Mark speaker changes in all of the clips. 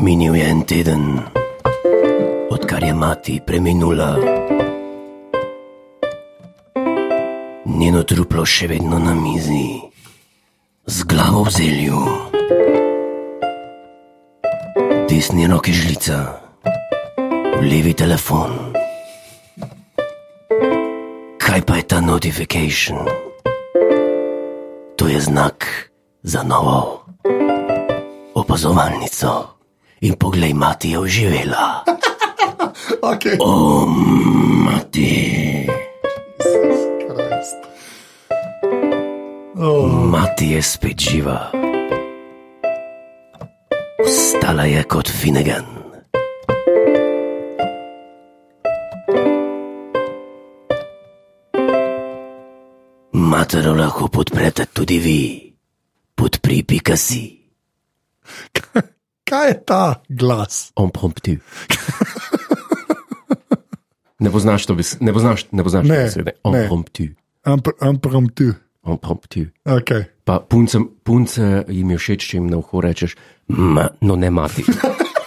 Speaker 1: Minil je en teden, odkar je mati preminula. Njeno truplo še vedno na mizi, z glavo v zelju, desni roki žlica, v levi telefon. Kaj pa je ta notification? To je znak za novo opazovalnico in poglej, mati je oživela.
Speaker 2: Okay.
Speaker 3: Oh.
Speaker 1: O, mati,
Speaker 2: Oh.
Speaker 1: mati je spet živa. Stala je kot Finnegan. Matero lahko podprete tudi vi, podpri.ca si.
Speaker 2: Kaj je ta glas?
Speaker 3: on promptu. Ne poznaš to besede, ne poznaš, ne poznaš
Speaker 2: Ne,
Speaker 3: te besede, on
Speaker 2: ne.
Speaker 3: promptu,
Speaker 2: Impromptu.
Speaker 3: on promptu.
Speaker 2: Okay.
Speaker 3: Pa puncem, punce jim je všeč, če jim na uho rečeš, ma, no ne mati.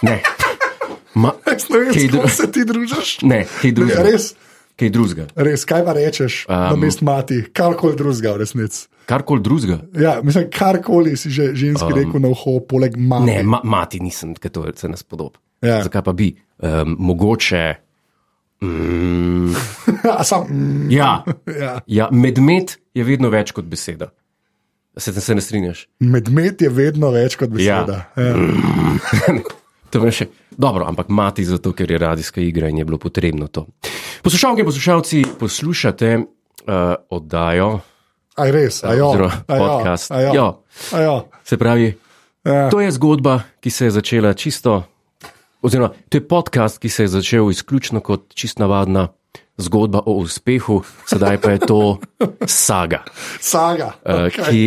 Speaker 3: Ne, ma, kaj,
Speaker 2: Slovensko
Speaker 3: dru,
Speaker 2: se ti družiš?
Speaker 3: ne, kaj drugega.
Speaker 2: res?
Speaker 3: Kaj drugega.
Speaker 2: Res, kaj pa rečeš, um, na mest mati, karkoli drugega, v resnici.
Speaker 3: Karkoli drugega.
Speaker 2: Ja, mislim, karkoli si že ženski um, rekel na uho, poleg mati.
Speaker 3: Ne, ma, mati nisem, ker to se nas podoba.
Speaker 2: Ja.
Speaker 3: Zakaj pa bi? Um, mogoče. Mm,
Speaker 2: A Sam, mm,
Speaker 3: ja,
Speaker 2: ja.
Speaker 3: ja, medmet je vedno več kot beseda. Se, se ne strinjaš?
Speaker 2: Medmet je vedno več kot beseda. Ja. Ja.
Speaker 3: To je še dobro, ampak mati zato, ker je radijska igra in je bilo potrebno to. Poslušalke in poslušalci, poslušate uh, oddajo,
Speaker 2: Aj res, ajo,
Speaker 3: oziroma
Speaker 2: ajo,
Speaker 3: podcast.
Speaker 2: Ajo,
Speaker 3: Jo,
Speaker 2: ajo.
Speaker 3: se pravi,
Speaker 2: Ja.
Speaker 3: to je zgodba, ki se je začela čisto, oziroma to je podcast, ki se je začel izključno kot čist navadna zgodba o uspehu, sedaj pa je to saga
Speaker 2: Saga.
Speaker 3: eh,
Speaker 2: Okay. Ki...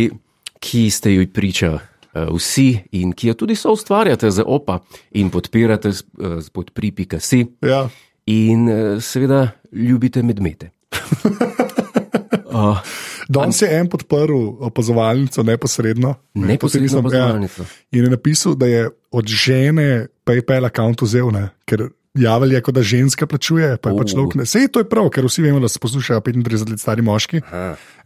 Speaker 3: ki, ki ste ji priča eh, vsi in ki jo tudi soustvarjate za opa in podpirate s, eh, s podpri.si
Speaker 2: Ja.
Speaker 3: in eh, seveda ljubite medmete. Uh,
Speaker 2: Danes je en podprl opazovalnico neposredno. Ne, to si
Speaker 3: Neposredno
Speaker 2: nisem-
Speaker 3: opazovalnico.
Speaker 2: Ja, in je napisal, da je od žene PayPal račun vzel, ne? ker javljal je, kot da ženska plačuje, pa je pač
Speaker 3: Uh.
Speaker 2: človek ne. Sej to je prav, ker vsi vemo, da se poslušajo 35 let stari moški.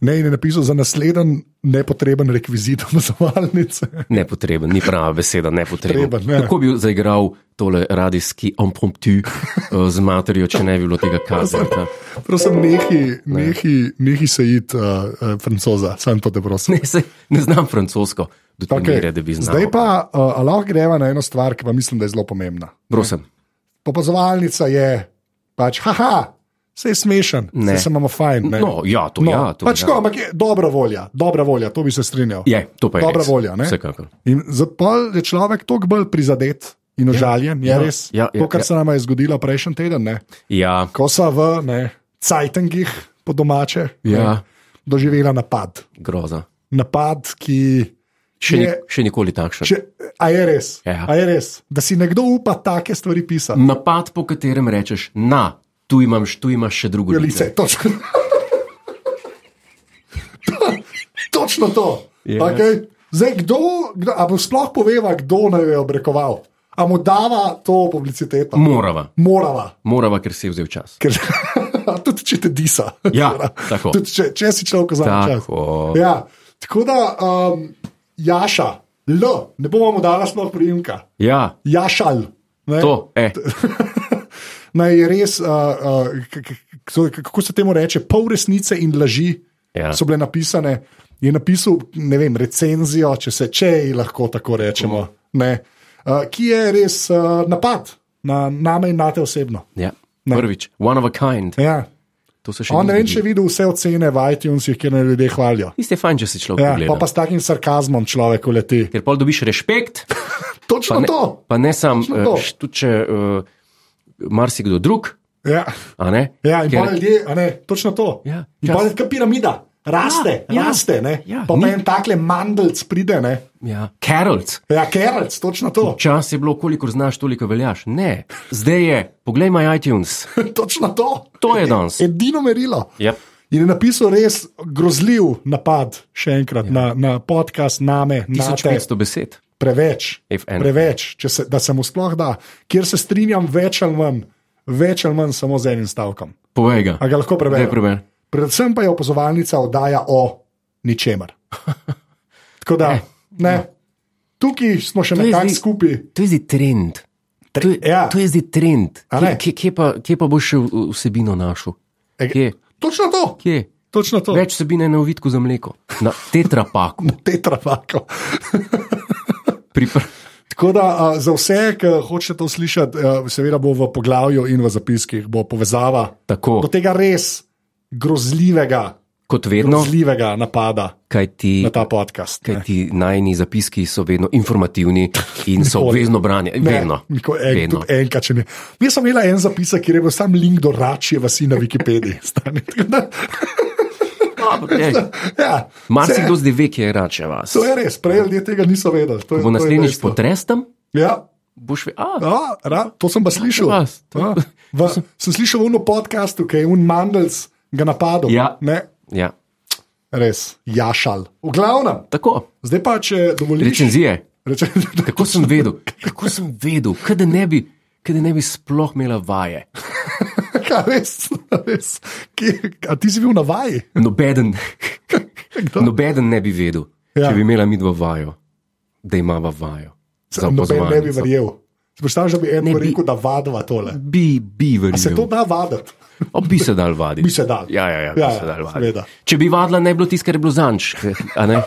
Speaker 2: Ne, in je napisal za naslednji nepotreben rekvizit opazovalnice.
Speaker 3: nepotreben, ni prava beseda, nepotreben.
Speaker 2: Potreben, ne.
Speaker 3: Kako bi zaigral tole radijski impromptu eh, z materjo, če ne bi bilo tega kazata?
Speaker 2: Prosim, nehi, nehi, nehi se id, uh, uh, francoza, sam to te prosim.
Speaker 3: Ne, se, ne znam francosko, do te okay. mere, da bi
Speaker 2: Okay.
Speaker 3: znal.
Speaker 2: Zdaj pa uh, a lahko greva na eno stvar, ki pa mislim, da je zelo pomembna.
Speaker 3: Prosim,
Speaker 2: Popazovalnica je pač, haha, se je smešen,
Speaker 3: Ne.
Speaker 2: se, se imamo fajn. Ne?
Speaker 3: No, ja, to ja, to
Speaker 2: pač
Speaker 3: ja.
Speaker 2: tako, ampak je dobra volja, dobra volja, to bi se strinjal.
Speaker 3: je, to pa je.
Speaker 2: Dobra
Speaker 3: res.
Speaker 2: volja, ne?
Speaker 3: Vsekakor.
Speaker 2: In zato je človek toliko bolj prizadet in užaljen, je ja, res.
Speaker 3: ja, ja,
Speaker 2: to, kar
Speaker 3: ja.
Speaker 2: se nam je zgodilo prejšnji teden, ne?
Speaker 3: Ja,
Speaker 2: ko so v ne, Cajtengih, po domače, ne,
Speaker 3: Ja.
Speaker 2: doživela napad.
Speaker 3: groza.
Speaker 2: Napad, ki
Speaker 3: Še, ni,
Speaker 2: je.
Speaker 3: še nikoli takšen.
Speaker 2: Če, a je res,
Speaker 3: Ja.
Speaker 2: a je res, da si nekdo upa take stvari pisati.
Speaker 3: Napad, po katerem rečeš, na, tu, imam, š- tu imaš še drugo Ja, lice.
Speaker 2: Lice, točno. To- točno to.
Speaker 3: Ja.
Speaker 2: Okay. Zdaj, kdo, kdo a bo sploh poveva, kdo naj jo je obrekoval? A mu dava to publiciteto?
Speaker 3: Morava,
Speaker 2: Morava.
Speaker 3: morava, ker si je vzel čas.
Speaker 2: Ker, tudi če te disa. Torej,
Speaker 3: Ja, tako.
Speaker 2: Tudi če, če si človek za čas.
Speaker 3: Tako.
Speaker 2: Ja, tako da, um, Jaša, L, ne bomo mu dala sploh prijimka.
Speaker 3: Ja,
Speaker 2: Jašal. ne.
Speaker 3: to, eh,
Speaker 2: Naj je res, uh, uh, k- k- k- kako se temu reče, pol resnice in laži
Speaker 3: Ja.
Speaker 2: so bile napisane. Je napisal, ne vem, recenzijo, če se če ji lahko tako rečemo, ne, uh, ki je res uh, napad na name in nate osebno.
Speaker 3: ja. prvič, one of a kind.
Speaker 2: Ja.
Speaker 3: To se še
Speaker 2: On ne vem,
Speaker 3: ni.
Speaker 2: če je videl vse ocene v iTunesih, kjer naj ljudje hvalijo.
Speaker 3: Niste fajn, če si človek
Speaker 2: Ja,
Speaker 3: ja,
Speaker 2: pa,
Speaker 3: gleda.
Speaker 2: pa s takim sarkazmom človek uleti.
Speaker 3: Ker pol dobiš respekt, pa
Speaker 2: Točno
Speaker 3: ne,
Speaker 2: to.
Speaker 3: pa ne sam,
Speaker 2: Točno to.
Speaker 3: eh, š- tudi če uh, marsikdo drug.
Speaker 2: Ja,
Speaker 3: a ne,
Speaker 2: ja in
Speaker 3: ker-
Speaker 2: pa ljudje, a ne, točno to.
Speaker 3: Ja,
Speaker 2: in
Speaker 3: čas.
Speaker 2: pa je kot piramida, raste,
Speaker 3: Ja,
Speaker 2: ja,
Speaker 3: ja,
Speaker 2: raste. Ne?
Speaker 3: ja,
Speaker 2: pa pa
Speaker 3: ni-
Speaker 2: en takle mandelc pride, ne.
Speaker 3: Ja, Carolc.
Speaker 2: Ja, kerec, točno to.
Speaker 3: Čas je bilo, koliko znaš, toliko veljaš. Ne, zdaj je, poglej, maj iTunes,
Speaker 2: točno to. Ja.
Speaker 3: to je danes. Ja.
Speaker 2: Edino merilo.
Speaker 3: Yep.
Speaker 2: In je napisal res grozljiv napad, še enkrat, ja. na, na podcast name, na te
Speaker 3: 1500 besed.
Speaker 2: preveč,
Speaker 3: If any.
Speaker 2: preveč če se, da se mu sploh da, kjer se strinjam več ali manj, več ali manj samo z enim stavkom.
Speaker 3: Povej ga.
Speaker 2: A ga lahko
Speaker 3: Daj
Speaker 2: preberem?
Speaker 3: preber.
Speaker 2: Predvsem pa je opazovalnica oddaja o ničemer. Tako da, ne, tukaj smo še
Speaker 3: je
Speaker 2: nekako
Speaker 3: zdaj-
Speaker 2: skupaj.
Speaker 3: To je zdaj trend. To je,
Speaker 2: ja.
Speaker 3: to je zdaj trend.
Speaker 2: A
Speaker 3: Kje,
Speaker 2: ne?
Speaker 3: kje, kje, pa, kje pa boš še v- vsebino našel?
Speaker 2: E,
Speaker 3: Kje?
Speaker 2: Točno to,
Speaker 3: Kje?
Speaker 2: točno to.
Speaker 3: Več vsebine je na ovitku za mleko, na tetrapaku.
Speaker 2: Petra Vako.
Speaker 3: Pripr...
Speaker 2: Tako da a, za vse, ki hočete to slišati, a, seveda bo v poglavju in v zapiskih bo povezava do
Speaker 3: Tako
Speaker 2: tega res grozljivega,
Speaker 3: kot vedno,
Speaker 2: grozljivega napada
Speaker 3: kaj ti,
Speaker 2: na ta podcast.
Speaker 3: No. kaj
Speaker 2: ne.
Speaker 3: ti najni zapiski so vedno informativni in so
Speaker 2: Nikoli.
Speaker 3: obvezno branje.
Speaker 2: Ne,
Speaker 3: Vedno.
Speaker 2: niko- en-
Speaker 3: Vedno.
Speaker 2: tudi Enkrat, če ne. Jaz sem imela en zapis, kjer je bil sam link do račje vasi na Wikipediji. stani. Tako da,
Speaker 3: Dobro, ej,
Speaker 2: ja,
Speaker 3: Marsikdo zdaj ve, kje je rače vas.
Speaker 2: To je res, prej ljudje tega niso vedeli. To, je-
Speaker 3: Bo
Speaker 2: to je
Speaker 3: naslednjič
Speaker 2: dejstvo.
Speaker 3: potres tam,
Speaker 2: Ja,
Speaker 3: boš ve. A,
Speaker 2: A, ra, to sem pa slišal.
Speaker 3: Ja,
Speaker 2: A, v, sem slišal v enem podkastu, ki je un Mandels ga napadel.
Speaker 3: Ja.
Speaker 2: Ne,
Speaker 3: ja,
Speaker 2: res, jašal. V glavnem,
Speaker 3: tako.
Speaker 2: zdaj pa če dovoliš.
Speaker 3: Recenzije.
Speaker 2: Reče,
Speaker 3: Kako sem vedel, kako sem vedel, kaj da ne bi, kaj da ne bi sploh imela vaje.
Speaker 2: kaj Ja, res, res. Kje, a ti si bil na vaji?
Speaker 3: Nobeden,
Speaker 2: Kdo?
Speaker 3: nobeden ne bi vedel, ja.
Speaker 2: Ja.
Speaker 3: če bi imela midva vajo, da imava vajo. Za
Speaker 2: Noben ne bi
Speaker 3: opazovanje.
Speaker 2: verjel. Sprašujem, da bi en
Speaker 3: Ne bi.
Speaker 2: rekel, da vadva tole.
Speaker 3: Bi, bi
Speaker 2: Se to
Speaker 3: verjel.
Speaker 2: da vaditi?
Speaker 3: O, bi se dal vaditi.
Speaker 2: Bi se dal.
Speaker 3: Ja, ja, ja,
Speaker 2: Ja,
Speaker 3: ja,
Speaker 2: ja,
Speaker 3: se dal vaditi.
Speaker 2: seveda.
Speaker 3: Če bi vadila, ne bi bilo tisto, kar je bilo zanč. a ne?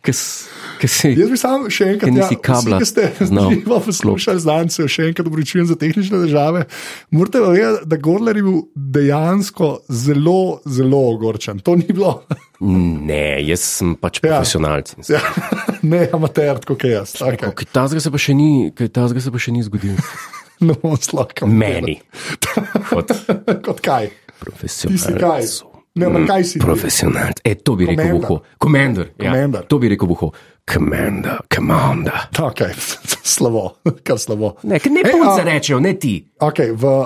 Speaker 3: Ke s- ke si-
Speaker 2: Jaz bi sam še enkrat
Speaker 3: Ker
Speaker 2: ja,
Speaker 3: nisi kabla
Speaker 2: vsi, ki ste
Speaker 3: znal
Speaker 2: živo poslušali znance, še enkrat obračujem za tehnične države. Morate pa vedeti, da Gorler je bil dejansko zelo, zelo ogorčen. To ni bilo
Speaker 3: Ne, jaz sem pač profesionalc. in sem-
Speaker 2: ja, ne amater, kot je jaz. Okay.
Speaker 3: Kaj tazga se pa še ni, kaj tazga se pa še ni zgodil.
Speaker 2: Ne bom slaka.
Speaker 3: Meni. Kot
Speaker 2: Kot kaj? Ti si kaj?
Speaker 3: profesionalec.
Speaker 2: Ne, ampak kaj si? ti?
Speaker 3: Profesionalc. E, to bi rekel
Speaker 2: Komandar.
Speaker 3: buho. Komandar. Ja.
Speaker 2: Komandar.
Speaker 3: To bi rekel buho. Komanda, komanda.
Speaker 2: Okay. Slabo, kar slabo.
Speaker 3: Ne, ker ne
Speaker 2: Ej,
Speaker 3: punce
Speaker 2: a-
Speaker 3: rečejo, ne ti.
Speaker 2: Okay, v,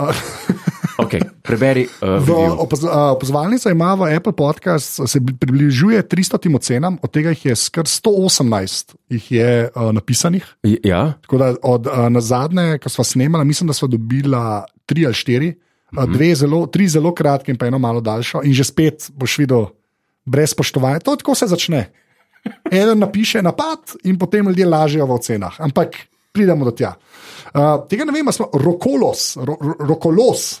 Speaker 2: a,
Speaker 3: Okay, preberi. Uh,
Speaker 2: V
Speaker 3: v...
Speaker 2: opoz, a, Opozovalnica ima v Apple podcast, se bli- približuje 300 ocenam, od tega jih je skar 118 jih je, a, napisanih.
Speaker 3: Ja,
Speaker 2: Tako da od a, na zadnje, ki smo snemali, mislim, da smo dobila tri ali štiri, a,
Speaker 3: Mhm.
Speaker 2: dve zelo, tri zelo kratke in pa eno malo daljšo. In že spet boš videl, brez spoštovanja. To tako se začne. Eden napiše napad in potem ljudje lažejo v ocenah. Ampak pridemo do tja. Uh, tega ne vem, a smo rokolos, ro, ro, rokolos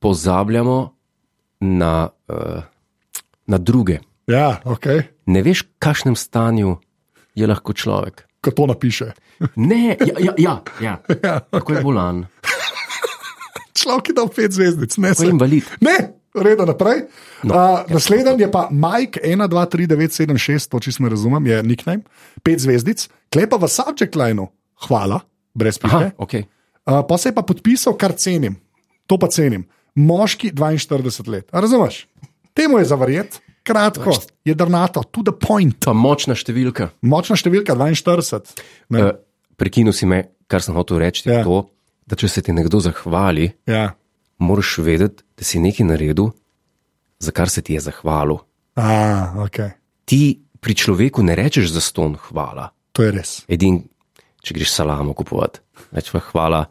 Speaker 3: pozabljamo na, uh, na druge.
Speaker 2: Ja, okay.
Speaker 3: Ne veš, v kakšnem stanju je lahko človek.
Speaker 2: Ko to napiše.
Speaker 3: Ne, ja, ja, ja, ja. kako je bolan,
Speaker 2: Človek je dal pet zvezdic, ne
Speaker 3: kako je
Speaker 2: se.
Speaker 3: invalid.
Speaker 2: Ne, reda naprej.
Speaker 3: No,
Speaker 2: No, uh, Naslednji je pa Mike 123976, to čisto ne razumem, je nickname, pet zvezdic, klepa v subject lineu, hvala, brez
Speaker 3: Aha,
Speaker 2: pike.
Speaker 3: okay.
Speaker 2: Uh, pa se je pa podpisal, kar cenim, to pa cenim. Moški 42 let, A razumeš? Temu je zavarjet, kratko, jedrnato, to the point.
Speaker 3: Pa močna številka.
Speaker 2: Močna številka 42. Ne?
Speaker 3: Uh, prekinil si me, kar sem hotel reči. Ja.
Speaker 2: Ja.
Speaker 3: To, da če se ti nekdo zahvali,
Speaker 2: Ja.
Speaker 3: moraš vedeti, da si nekaj naredil, za kar se ti je zahvalil.
Speaker 2: A, okay.
Speaker 3: Ti pri človeku ne rečeš za ston hvala.
Speaker 2: To je res.
Speaker 3: Edin, če greš salamo kupovati, reče pa hvala.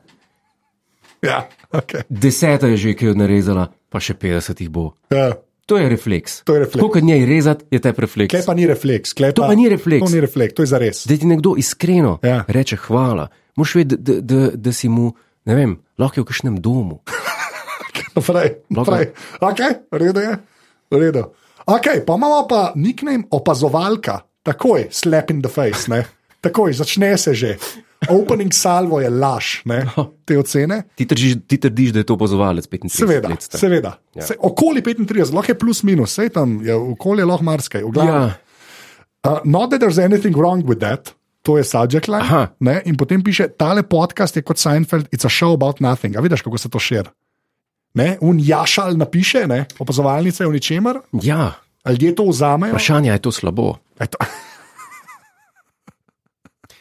Speaker 2: Ja, okay.
Speaker 3: Deseta je že, ki jo je narezala, pa še 50 jih bo.
Speaker 2: ja.
Speaker 3: To je refleks.
Speaker 2: To je refleks.
Speaker 3: Kot njej rezati, je ta refleks.
Speaker 2: Klej pa ni refleks, klej
Speaker 3: To pa ni refleks.
Speaker 2: To ni refleks, to je za res.
Speaker 3: da ti nekdo iskreno ja.
Speaker 2: Ja.
Speaker 3: reče hvala, moš vedeti, da, da, da si mu, ne vem, lahko je v kažem domu.
Speaker 2: Naprej, naprej. Ok, redo je, redo. Ok, pa imamo pa nickname opazovalka, takoj, slap in the face. Ne? Takoj, začne se že. Opening salvo je laž, ne,
Speaker 3: No.
Speaker 2: te ocene.
Speaker 3: Ti trdiš, ti trdiš, da je to opazovalec 35
Speaker 2: Seveda,
Speaker 3: let. star.
Speaker 2: seveda. Ja. Se, okoli 35, lahko je plus minus, vse tam je, okolje je lahko marsikaj. v glavnem.
Speaker 3: Ja,
Speaker 2: Uh, not that there's anything wrong with that. To je subject line.
Speaker 3: Aha.
Speaker 2: Ne, in potem piše, tale podcast je kot Seinfeld, it's a show about nothing. A vidiš, kako se to širi. Ne, un jašal napiše, ne, opazovalnice o ničemer,
Speaker 3: ja,
Speaker 2: ali ljudje to vzamejo.
Speaker 3: vprašanje je, je to slabo.
Speaker 2: A je to-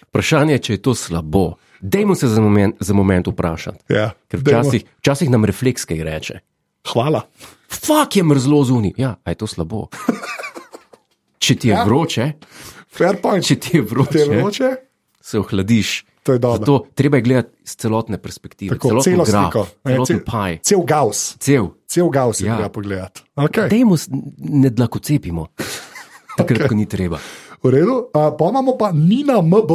Speaker 3: Vprašanje je, če je to slabo. Dajmo se za moment, za moment vprašati.
Speaker 2: Ja,
Speaker 3: Ker
Speaker 2: dajmo.
Speaker 3: včasih, včasih nam refleks kaj reče.
Speaker 2: Hvala.
Speaker 3: Fak je mrzlo zunaj. Ja, a je to slabo. Če ti je ja. vroče,
Speaker 2: Fair point.
Speaker 3: če ti je vroče,
Speaker 2: Te vroče,
Speaker 3: se ohladiš.
Speaker 2: To je dobro.
Speaker 3: Zato treba je gledati z celotne perspektive,
Speaker 2: tako
Speaker 3: celotno
Speaker 2: celo
Speaker 3: graf,
Speaker 2: sliko. Ne,
Speaker 3: celoten
Speaker 2: cel-
Speaker 3: paj,
Speaker 2: Cel gaus,
Speaker 3: cel.
Speaker 2: cel gaus je
Speaker 3: Ja.
Speaker 2: treba pogledati. Okay.
Speaker 3: Dajmo s- ne dlako cepimo, takrat, okay. ko ni treba.
Speaker 2: V redu, a, pa imamo pa Nina MB,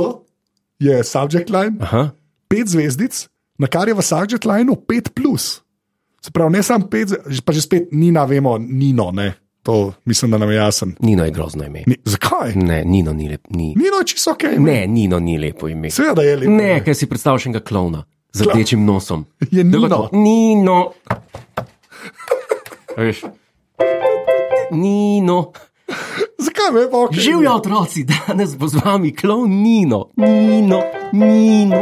Speaker 2: je subject line,
Speaker 3: Aha.
Speaker 2: pet zvezdic, na kar je v subject lineu pet plus. Se pravi, ne samo pet, zve- pa že spet Nina, vemo, Nino, ne. to mislim, da nam je jasen.
Speaker 3: Nino je grozno ime.
Speaker 2: Ni, zakaj?
Speaker 3: Ne, Nino ni lepo. Ni.
Speaker 2: Nino je čisto ok.
Speaker 3: Ne, Nino ni lepo ime.
Speaker 2: Seveda je lepo.
Speaker 3: Ne, ker si predstavljaš enega klovna z rdečim nosom.
Speaker 2: Je
Speaker 3: Da bo
Speaker 2: Nino.
Speaker 3: tako, Nino. A Veš. Nino.
Speaker 2: Zakaj me pa ok?
Speaker 3: Živijo otroci, danes bo z vami klovn Nino. Nino, Nino.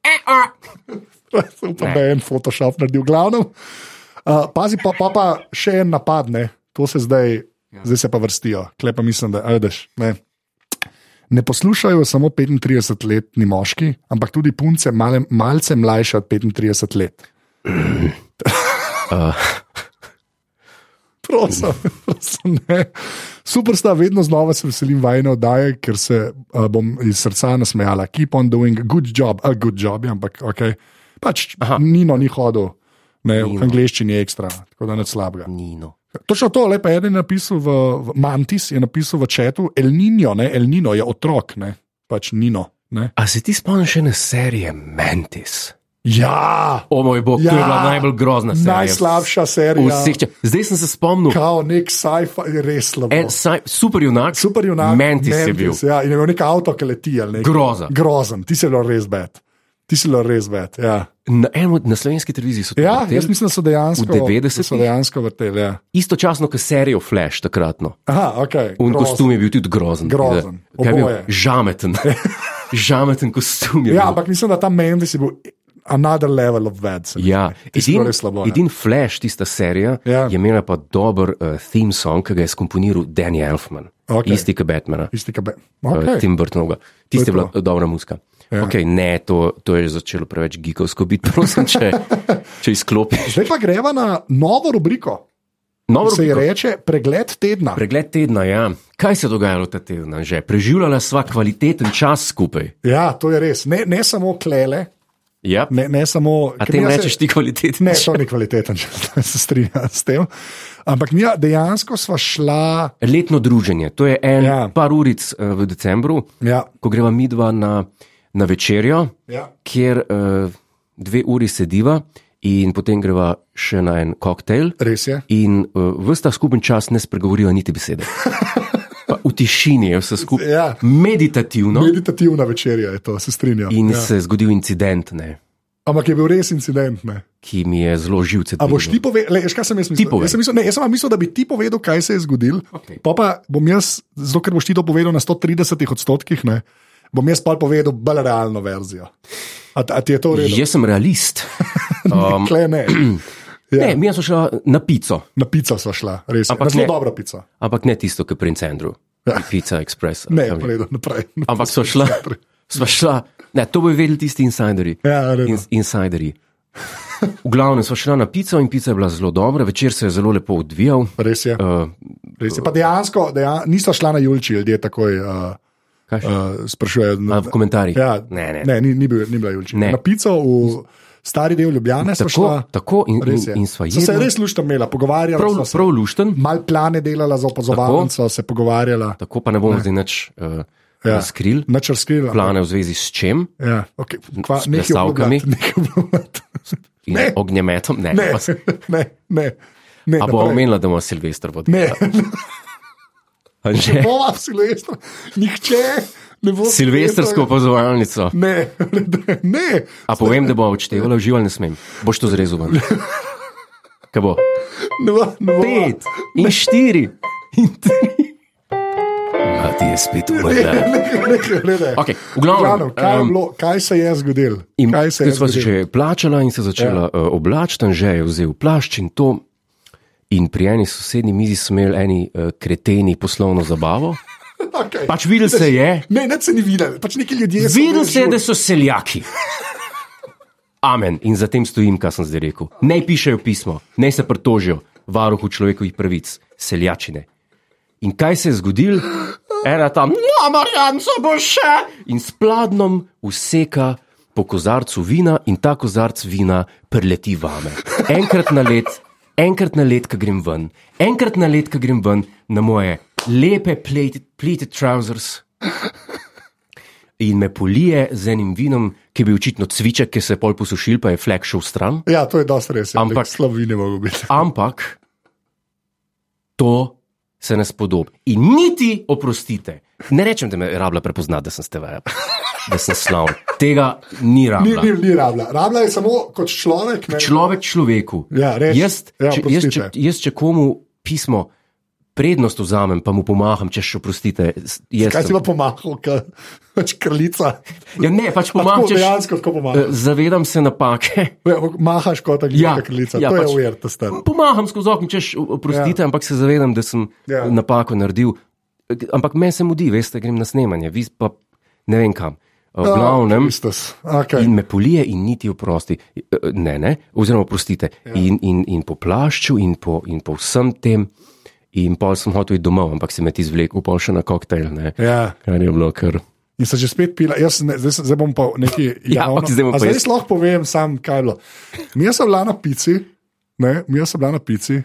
Speaker 3: E, a.
Speaker 2: Sem pa en Photoshop naredil, glavno. Uh, pazi, pa, pa pa še en napad, ne? to se zdaj, ja. zdaj se pa vrstijo, klepa mislim, da ajdeš. Ne. ne poslušajo samo 35-letni moški, ampak tudi punce male, malce mlajše od 35 let.
Speaker 3: Uh,
Speaker 2: Prosim, prosim, ne. Super sta, vedno znova se veselim vajne oddaje, ker se uh, bom iz srca nasmejala. Keep on doing, good job, a good job, je, ampak ok. Pač Aha. Nino ni hodil, ne, v angleščini je ekstra, tako da ne slabega.
Speaker 3: Nino.
Speaker 2: Točno to, lepa je eden je napisal v, v Mantis, je napisal v četu, El Nino, ne, El Nino je otrok, ne, pač Nino. Ne.
Speaker 3: A se ti spomniš ene serije Mantis?
Speaker 2: Ja,
Speaker 3: O moj bog, ja, to je
Speaker 2: Ja.
Speaker 3: bila najbolj grozna serija.
Speaker 2: najslabša ja. serija.
Speaker 3: Vseh, čas- zdaj sem se spomnil,
Speaker 2: Kao nek sci-fi, res slabo.
Speaker 3: en saj- super junak,
Speaker 2: Super junak.
Speaker 3: Mantis je bil.
Speaker 2: Ja, in je imel nek avto, ki leti. ali nekaj.
Speaker 3: Groza.
Speaker 2: Grozen, ti si bilo res bed. Ti si bilo res bed. Ja,
Speaker 3: Na, eno, na slovenski televiziji so to
Speaker 2: ja
Speaker 3: vrteli,
Speaker 2: jaz mislim, da so dejansko.
Speaker 3: V 90-ih?
Speaker 2: So dejansko vrteli. Ja.
Speaker 3: istočasno kot serijo Flash takratno.
Speaker 2: Aha, ok. grozen.
Speaker 3: Un kostum je bil tudi grozen.
Speaker 2: Grozen,
Speaker 3: Da, kaj je bil?
Speaker 2: oboje.
Speaker 3: Žameten. Žameten kostum je
Speaker 2: Ja,
Speaker 3: bil.
Speaker 2: ampak mislim, da ta Mendes je bil another level of bed. se mi
Speaker 3: Ja,
Speaker 2: zdi. Tisto je bilo
Speaker 3: edin,
Speaker 2: res slabo. ja.
Speaker 3: edin Flash, tista serija,
Speaker 2: Ja.
Speaker 3: je imela pa dober uh, theme song, ki ga je skomponiral Danny Elfman,
Speaker 2: Okej.
Speaker 3: isti kot Batmana.
Speaker 2: Tisti, ki be.
Speaker 3: Okay.
Speaker 2: Okay.
Speaker 3: Tim Burtonovega. Tiste je bila
Speaker 2: to.
Speaker 3: dobra muska. Ja. Okay, ne, to, to je že začelo preveč gigovsko biti, prosim, če, če izklopiš.
Speaker 2: Zdaj pa greva na novo rubriko,
Speaker 3: Novo
Speaker 2: ki se ji
Speaker 3: rubriko.
Speaker 2: reče pregled tedna.
Speaker 3: Pregled tedna, ja. Kaj se je dogajalo ta teden že? Preživljala sva kvaliteten čas skupaj.
Speaker 2: Ja, to je res. Ne, ne samo klele,
Speaker 3: Yep.
Speaker 2: ne, ne samo.
Speaker 3: A
Speaker 2: ker
Speaker 3: tem
Speaker 2: midva se-
Speaker 3: rečeš ti kvaliteten?
Speaker 2: Ne, to ni kvaliteten, če se strinjam s tem. Ampak mi dejansko sva šla.
Speaker 3: Letno druženje, to je en ja.
Speaker 2: Ja.
Speaker 3: par uric eh, v decembru,
Speaker 2: Ja,
Speaker 3: ko greva midva na, na večerjo,
Speaker 2: ja.
Speaker 3: kjer uh, dve uri sediva in potem greva še na en koktejl.
Speaker 2: Res je.
Speaker 3: In uh, vsta skupen čas ne spregovorijo niti besede. Pa v tišini je vse skupaj.
Speaker 2: Ja.
Speaker 3: Meditativno.
Speaker 2: Meditativna večerja je to, se strinjam.
Speaker 3: No. In ja.
Speaker 2: Ja.
Speaker 3: se je zgodil incident, ne,
Speaker 2: Ampak je bil res incident. Ne?
Speaker 3: ki mi je zelo živce
Speaker 2: A boš
Speaker 3: dvignil.
Speaker 2: ti povedal, kaj sem jaz
Speaker 3: Ti
Speaker 2: mislil?
Speaker 3: povej.
Speaker 2: Jaz sem, mislil, ne, jaz sem vam mislil, da bi ti povedal, kaj se je zgodil.
Speaker 3: Okej.
Speaker 2: Pa pa bom jaz, zato ker boš ti to povedal na 130 odstotkih, ne, bom jaz pa povedal bolj realno verzijo. A, a ti je to res?
Speaker 3: Jaz sem realist. Ja, Um,
Speaker 2: Kle ne.
Speaker 3: ne,
Speaker 2: Ja,
Speaker 3: mi smo šli na pico,
Speaker 2: na pico sva šla, res. je.
Speaker 3: Ampak
Speaker 2: Na zelo
Speaker 3: ne.
Speaker 2: dobra pica.
Speaker 3: ampak ne tisto, ki je pri Centru,
Speaker 2: Ja.
Speaker 3: Pica Express. ali
Speaker 2: Ne,
Speaker 3: kam že.
Speaker 2: pojedo naprej.
Speaker 3: ampak so šla, sva šla, ne, to bojo vedeli tisti insiderji.
Speaker 2: Ja,
Speaker 3: In,
Speaker 2: res.
Speaker 3: insiderji. V glavnem smo šli na pico in pica je bila zelo dobra, večer se je zelo lepo odvijal.
Speaker 2: Res ja. je.
Speaker 3: Uh,
Speaker 2: Res je. Pa dejansko, dejansko niso šla na Julči, ljudje takoj uh,
Speaker 3: kaj še?
Speaker 2: uh, sprašujejo.
Speaker 3: A, v komentarjih.
Speaker 2: Ja,
Speaker 3: Ne, ne.
Speaker 2: ne ni, ni, bil, ni bila Julči.
Speaker 3: Ne.
Speaker 2: Na pico v stari del Ljubljana so
Speaker 3: Tako,
Speaker 2: šla.
Speaker 3: tako in,
Speaker 2: Res je.
Speaker 3: in, in sva
Speaker 2: so se
Speaker 3: jedla.
Speaker 2: res lušta imela, pogovarjala
Speaker 3: Prav,
Speaker 2: so Hm. se.
Speaker 3: prav lušten,
Speaker 2: Mal plane delala za opazovalnico, se pogovarjala,
Speaker 3: tako pa ne bomo zdaj nič uh, ja.
Speaker 2: Ja.
Speaker 3: razkril.
Speaker 2: nič razkrila.
Speaker 3: Plane v zvezi s čem?
Speaker 2: Ja, okay. Kva,
Speaker 3: S
Speaker 2: nekaj
Speaker 3: plesalkami?
Speaker 2: obljubljati, nekaj obljubljati.
Speaker 3: In
Speaker 2: Ne.
Speaker 3: Ognjemetom? Ne.
Speaker 2: Ne,
Speaker 3: pa s-
Speaker 2: ne, ne. ne
Speaker 3: A bo
Speaker 2: naprej.
Speaker 3: omenila, da bomo Silvestr vodili?
Speaker 2: Ne,
Speaker 3: Že?
Speaker 2: Bova Silvestra, nihče Ne bo
Speaker 3: Silvestrsko pozvalnico.
Speaker 2: Ne, ne, ne.
Speaker 3: A povem, da bo odštevala, užival ne smem. Boš to zrezal ven. Kaj bo?
Speaker 2: ne, bo, ne bo.
Speaker 3: Pet in štiri in tri.
Speaker 1: A
Speaker 3: Ja,
Speaker 1: ti je spet umrla.
Speaker 3: Okay, v
Speaker 2: Glavno,
Speaker 3: glavnem,
Speaker 2: kaj, um,
Speaker 3: em,
Speaker 2: bilo, kaj se je zgodilo?
Speaker 3: In
Speaker 2: Kaj se je
Speaker 3: takrat sva se
Speaker 2: zgodilo?
Speaker 3: še plačala in se začela ja. uh, oblačiti, že je vzel plašč in to. In pri eni sosednji mizi smo imeli eni uh, kreteni poslovno zabavo.
Speaker 2: Okay.
Speaker 3: Pač videl se je,
Speaker 2: Ne, ne, se ni videl, pač neki ljudje. so
Speaker 3: videl
Speaker 2: bili
Speaker 3: se je, da
Speaker 2: žur.
Speaker 3: so seljaki. Amen. In zatem stojim, kar sem zdaj rekel. Naj pišejo pismo, naj se pritožijo varuhu človekovih pravic, seljačine. In kaj se je zgodil? Era tam, no, Marjanco bo še. In s pladnom useka po kozarcu vina in ta kozarc vina preleti vame. Enkrat na let, enkrat na let, ko grem ven, enkrat na let, ko grem ven na moje lepe pleated, pleated trousers. In me polije z enim vinom, ki je bil očitno cviček, ki se je pol posušil, pa je flek šel stran.
Speaker 2: Ja, to je dosti res.
Speaker 3: Ampak-
Speaker 2: Ampak slovi ne mogo biti.
Speaker 3: Ampak to se ne spodobi. In niti oprostite. Ne rečem, da me je rabila prepoznati, da sem stevaja, da sem slaven. Tega ni
Speaker 2: Ni,
Speaker 3: rabila.
Speaker 2: ni, ni rabla. Rabla je samo kot človek. Ne?
Speaker 3: Človek človeku.
Speaker 2: Ja, res.
Speaker 3: Jaz,
Speaker 2: Ja,
Speaker 3: če, jaz, če,
Speaker 2: oprostite.
Speaker 3: jaz, če komu pismo prednost vzamem, pa mu pomaham, če še oprostite. s- jaz
Speaker 2: Kaj si
Speaker 3: sem-
Speaker 2: pa pomahal, ka- pač krlica.
Speaker 3: Ja, ne, pač
Speaker 2: Pa Tako
Speaker 3: pomaham, če še.
Speaker 2: dejansko tako
Speaker 3: Eh,
Speaker 2: pomahal.
Speaker 3: Zavedam se napake.
Speaker 2: Ja, Mahaš kot
Speaker 3: Ja,
Speaker 2: angliška krlica. To
Speaker 3: ja,
Speaker 2: je
Speaker 3: pač.
Speaker 2: ujer, to star.
Speaker 3: Pomaham skozi okno, češ, oprostite, ja. ampak se zavedam, da sem
Speaker 2: Ja.
Speaker 3: ja. napako naredil. Ampak meni se mudi, veste, grem na snemanje, vi pa ne vem kam. V glavnem,
Speaker 2: Ah, Kristus. Okay.
Speaker 3: in me polije, in niti oprosti, Eh, ne, ne, oziroma oprostite. Ja. In, in, in po plašču, in po, in po vsem tem, in pol sem hotel iti domov, ampak si me ti izvlekel, pol še na koktajl. ne.
Speaker 2: Ja.
Speaker 3: Kar je bilo, ker.
Speaker 2: In se že spet pila, jaz ne, zdaj, se- zdaj bom pa nekaj.
Speaker 3: Ja,
Speaker 2: javno-
Speaker 3: ok, zdaj
Speaker 2: A
Speaker 3: bom pa
Speaker 2: zdaj
Speaker 3: jaz.
Speaker 2: lahko povem, sam kaj je bilo. Mi smo bili na pici, ne, mi smo bili na pici.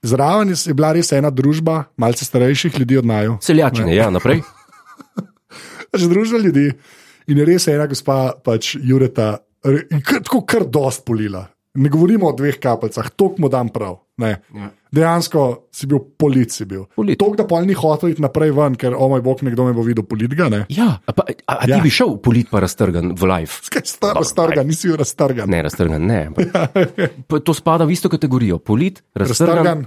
Speaker 2: Zraven je bila res ena družba, malce starejših ljudi od naju.
Speaker 3: Seljačine, ja, naprej.
Speaker 2: pač družba ljudi. In je res ena gospa, pač Jureta, re- in kar, tako kar dost polila. Ne govorimo o dveh kapljicah, to mu dam prav. Ne.
Speaker 3: Ja.
Speaker 2: Dejansko si bil polit. Si bil.
Speaker 3: Polit.
Speaker 2: Tok, da pol ni hotel iti naprej ven, ker o moj bog, nekdo me bo videl politga. Ne.
Speaker 3: Ja, a, pa, a, a ti ja.
Speaker 2: Ja.
Speaker 3: bi šel v polit, pa raztrgan v live.
Speaker 2: Kaj sta raztrga, nisi bil raztrgan.
Speaker 3: Ne, raztrgan, ne. ampak-
Speaker 2: Ja,
Speaker 3: Pa To spada v isto kategorijo. Polit,
Speaker 2: Raztrgan,
Speaker 3: raztrgan,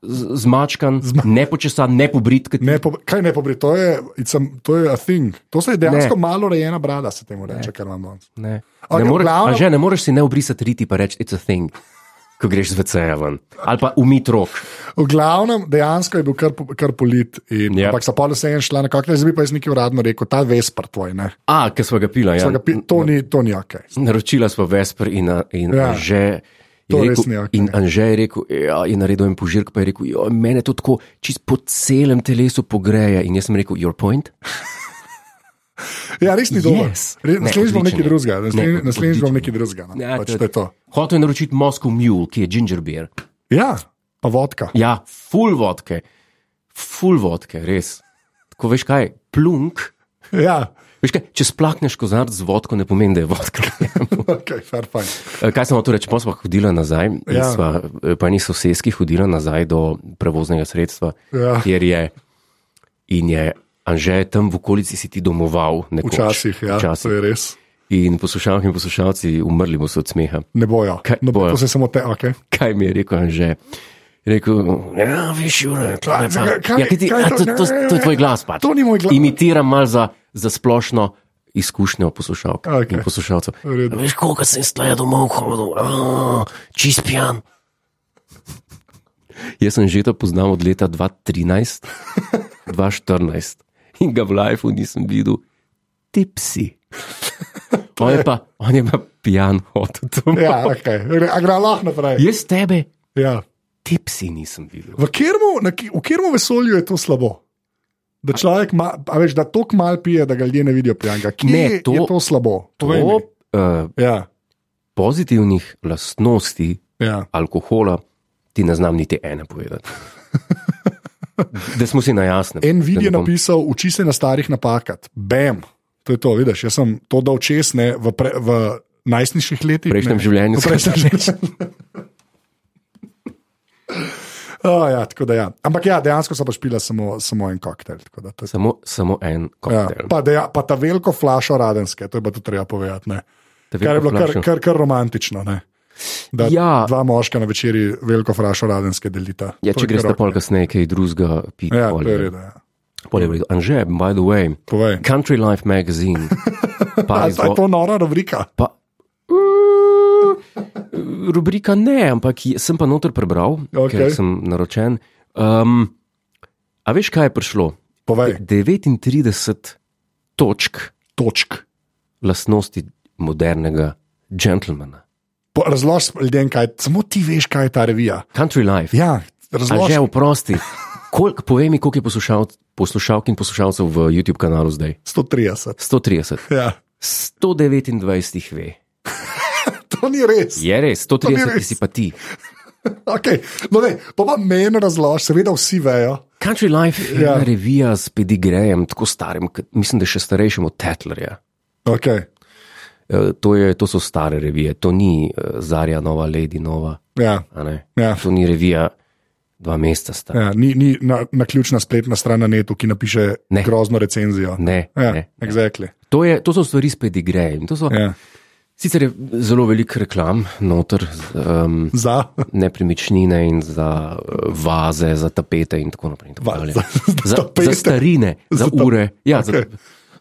Speaker 3: z- zmačkan, nepočesan, nepobrit. kot-
Speaker 2: ne po, kaj ne pobri, to je, it's a, to je a thing. To se je dejansko ne. malo rejena brada, se temu reče, kar imam danes.
Speaker 3: Ne,
Speaker 2: Ok,
Speaker 3: ne moreš,
Speaker 2: glavno-
Speaker 3: a že ne moreš si ne obrisati riti in reči: It's a thing, ko greš z VC-ja ven. Ali pa umit rok.
Speaker 2: V glavnem, dejansko je bil kar, po- kar polit. In, yep.
Speaker 3: Ja.
Speaker 2: Ampak so pa vse en šla na kakšne, zdaj bi pa jaz nekaj uradno rekel, ta vesper tvoj. Ne?
Speaker 3: A, ki smo ga pila, ja.
Speaker 2: Ja, ga, pi- to, ni, to ni ok.
Speaker 3: Naročila smo Vesper in, a- in
Speaker 2: Ja.
Speaker 3: ja. Anže. je
Speaker 2: To res
Speaker 3: rekel,
Speaker 2: ni ok.
Speaker 3: in Anže je rekel, ja, in naredil en požirk, pa je rekel, jo, mene to tako čist po celem telesu pogreje. In jaz sem rekel, your point?
Speaker 2: Ja, res ni dobro.
Speaker 3: Yes. Ne,
Speaker 2: Naslednjič bom nekaj
Speaker 3: odličen je.
Speaker 2: drugega.
Speaker 3: Ne,
Speaker 2: naslednji- Naslednjič bom
Speaker 3: odličen
Speaker 2: nekaj drugega. no.
Speaker 3: Ja,
Speaker 2: Pač
Speaker 3: to-
Speaker 2: to je to.
Speaker 3: Hotel je naročiti Moscow Mule, ki je ginger beer.
Speaker 2: Ja, pa vodka.
Speaker 3: Ja, full vodke, full vodke, res. Ko veš kaj, plunk.
Speaker 2: Ja,
Speaker 3: Veš kaj, če splakneš kozarc z vodko, ne pomeni, da je vodka. Eh,
Speaker 2: ok, fair fine.
Speaker 3: kaj sem hotel reči, pa smo hodili nazaj, ja.
Speaker 2: Ja.
Speaker 3: sva, eh, pa niso sosedski hodili nazaj do prevoznega sredstva,
Speaker 2: Ja.
Speaker 3: kjer je in je Anže tam v okolici si ti domoval. Nekoč,
Speaker 2: Včasih, ja, to je
Speaker 3: Včasih.
Speaker 2: res.
Speaker 3: In poslušalke in poslušalci umrli bomo od smeha.
Speaker 2: Ne bojo.
Speaker 3: Kaj
Speaker 2: No,
Speaker 3: bojo?
Speaker 2: to se samo te, ok.
Speaker 3: Kaj mi je rekel Anže? Rekel, ja, veš, Jure, to je pa-
Speaker 2: Kaj- kaj-
Speaker 3: Ja, kaj ti-
Speaker 2: kaj
Speaker 3: a,
Speaker 2: to-
Speaker 3: to- to- to je tvoj glas. Pač.
Speaker 2: To ni moj glas.
Speaker 3: Imitiram malo za, za splošno izkušnjo poslušalk
Speaker 2: Okej.
Speaker 3: in poslušalcev.
Speaker 2: V redu.
Speaker 1: Veš, koliko sem stala domov, hodil, A, čist pijan.
Speaker 3: Jaz sem že to poznal od leta 2013, 2014 in ga v lifeu nisem videl, tipsi. On je pa, on je pa pijan hodil domov.
Speaker 2: Ja, ok. A gre lahko naprej.
Speaker 3: Jaz tebe,
Speaker 2: Ja.
Speaker 3: tipsi nisem videl.
Speaker 2: V katerem, na ki- v katerem vesolju je to slabo? Da človek ma, a veš, da tok mal pije, da ga ljudje ne vidijo pijanga. Kje
Speaker 3: Ne,
Speaker 2: ne, to,
Speaker 3: to-
Speaker 2: je to slabo?
Speaker 3: To,
Speaker 2: Povej mi.
Speaker 3: eh,
Speaker 2: Ja,
Speaker 3: pozitivnih lastnosti
Speaker 2: ja.
Speaker 3: alkohola, ti ne znam niti ene povedati. Da smo si na jasnem.
Speaker 2: En vid
Speaker 3: da
Speaker 2: je
Speaker 3: ne bom-
Speaker 2: napisal, uči se na starih napakat. Bam, to je to, vidiš. Jaz sem to dal čez ne v, pre, v najstniških letih.
Speaker 3: V prejšnjem
Speaker 2: ne.
Speaker 3: življenju
Speaker 2: V prejšnjem
Speaker 3: sem-
Speaker 2: življenju. Oh, ja, tako da ja. Ampak ja, dejansko sem pač pila samo, samo en koktejl. tako da to je-
Speaker 3: Samo, samo en
Speaker 2: Ja,
Speaker 3: koktejl.
Speaker 2: pa, deja, pa ta veliko flašo radenske, to je pa tudi treba povedati. Ne?
Speaker 3: Ta veliko
Speaker 2: Kar je bilo kar,
Speaker 3: flašo.
Speaker 2: kar, kar romantično. Ne? Da
Speaker 3: Ja.
Speaker 2: dva moška na večerji veliko flašo radenske delita.
Speaker 3: Ja,
Speaker 2: To
Speaker 3: če
Speaker 2: je
Speaker 3: greš
Speaker 2: kar
Speaker 3: na
Speaker 2: ok.
Speaker 3: pol kasneje, kaj drugega, piti.
Speaker 2: Ja, to je redo. Ja.
Speaker 3: redo. Anže, by the way,
Speaker 2: Povej.
Speaker 3: Country Life magazine.
Speaker 2: A,
Speaker 3: Pa
Speaker 2: zdaj je
Speaker 3: izvo-
Speaker 2: to nora rubrika.
Speaker 3: pa, Mm, rubrika ne, ampak je- sem pa noter prebral, okay.
Speaker 2: Okej.
Speaker 3: ker sem naročen. Um, a veš, kaj je prišlo?
Speaker 2: Povej,
Speaker 3: 39 točk
Speaker 2: točk.
Speaker 3: lastnosti modernega džentlmena.
Speaker 2: Po- Razloži ljudem, kaj samo ti veš, kaj je ta revija.
Speaker 3: Country Life.
Speaker 2: Ja,
Speaker 3: A
Speaker 2: razloži.
Speaker 3: že oprosti. Kolik, povej mi, koliko je poslušal, poslušalk in poslušalcev v YouTube kanalu zdaj?
Speaker 2: 130.
Speaker 3: 130.
Speaker 2: Ja,
Speaker 3: 129 jih ve.
Speaker 2: to ni res.
Speaker 3: Je res,
Speaker 2: To ni
Speaker 3: 130
Speaker 2: res.
Speaker 3: jih si pa ti.
Speaker 2: Okay. No, ne, pa pa meni razloži, seveda vsi vejo.
Speaker 3: Country Life je
Speaker 2: Ja.
Speaker 3: ja. revija s pedigrejem, tako starim, kot- mislim, da še starejšim od Tetlerja.
Speaker 2: Okay.
Speaker 3: E, To, je, to so stare revije, to ni eh, Zarja, nova Lady, nova.
Speaker 2: Ja.
Speaker 3: a ne.
Speaker 2: Ja.
Speaker 3: To ni revija, dva meseca stara. Ja.
Speaker 2: Ja, ni ni na, na ključna spletna stran na netu, ki napiše ne.
Speaker 3: Ne.
Speaker 2: grozno recenzijo.
Speaker 3: Ne,
Speaker 2: ja,
Speaker 3: ne.
Speaker 2: exactly.
Speaker 3: To, je, to so stvari s pedigrejem. To So, ja.
Speaker 2: ja.
Speaker 3: Sicer je zelo veliko reklam, noter, um,
Speaker 2: Za,
Speaker 3: nepremičnine in za eh, vaze, za tapete in tako naprej. In tako
Speaker 2: Va-
Speaker 3: dalje.
Speaker 2: za- za
Speaker 3: za,
Speaker 2: tapete.
Speaker 3: za starine, za,
Speaker 2: Za
Speaker 3: za
Speaker 2: ta-
Speaker 3: ure. Ja, okay. za,
Speaker 2: Okej.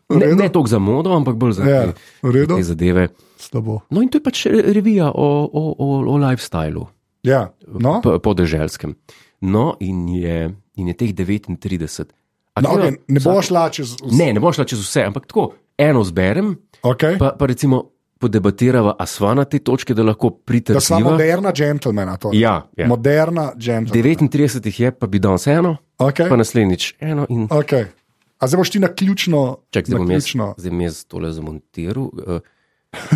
Speaker 2: V
Speaker 3: ne
Speaker 2: redu.
Speaker 3: ne toliko za modo, ampak bolj za
Speaker 2: Ja, v
Speaker 3: te,
Speaker 2: redu.
Speaker 3: te zadeve.
Speaker 2: slabo.
Speaker 3: No, in to je pač re- revija o, o, o, o lifestylu,
Speaker 2: Ja, no,
Speaker 3: po, po deželskem. No, in je, in je teh 39. A
Speaker 2: no,
Speaker 3: katero-
Speaker 2: okay, ne
Speaker 3: vsako-
Speaker 2: bo šla čez vse.
Speaker 3: Ne, ne bo šla čez vse, ampak tako eno zberem,
Speaker 2: Okay.
Speaker 3: pa, pa recimo podebatirava, a sva na te točke, da lahko
Speaker 2: Da sva
Speaker 3: pritrdiva.
Speaker 2: moderna džentlmena. To.
Speaker 3: Ja, ja.
Speaker 2: Moderna džentlmena.
Speaker 3: 39 jih je, pa bi danes eno,
Speaker 2: Okay.
Speaker 3: pa naslednjič eno in
Speaker 2: Okay. A zdaj boš ti na ključno,
Speaker 3: Čak,
Speaker 2: na
Speaker 3: zdaj bom jaz,
Speaker 2: ključno.
Speaker 3: zdaj bom jaz tole zamontiral. Uh,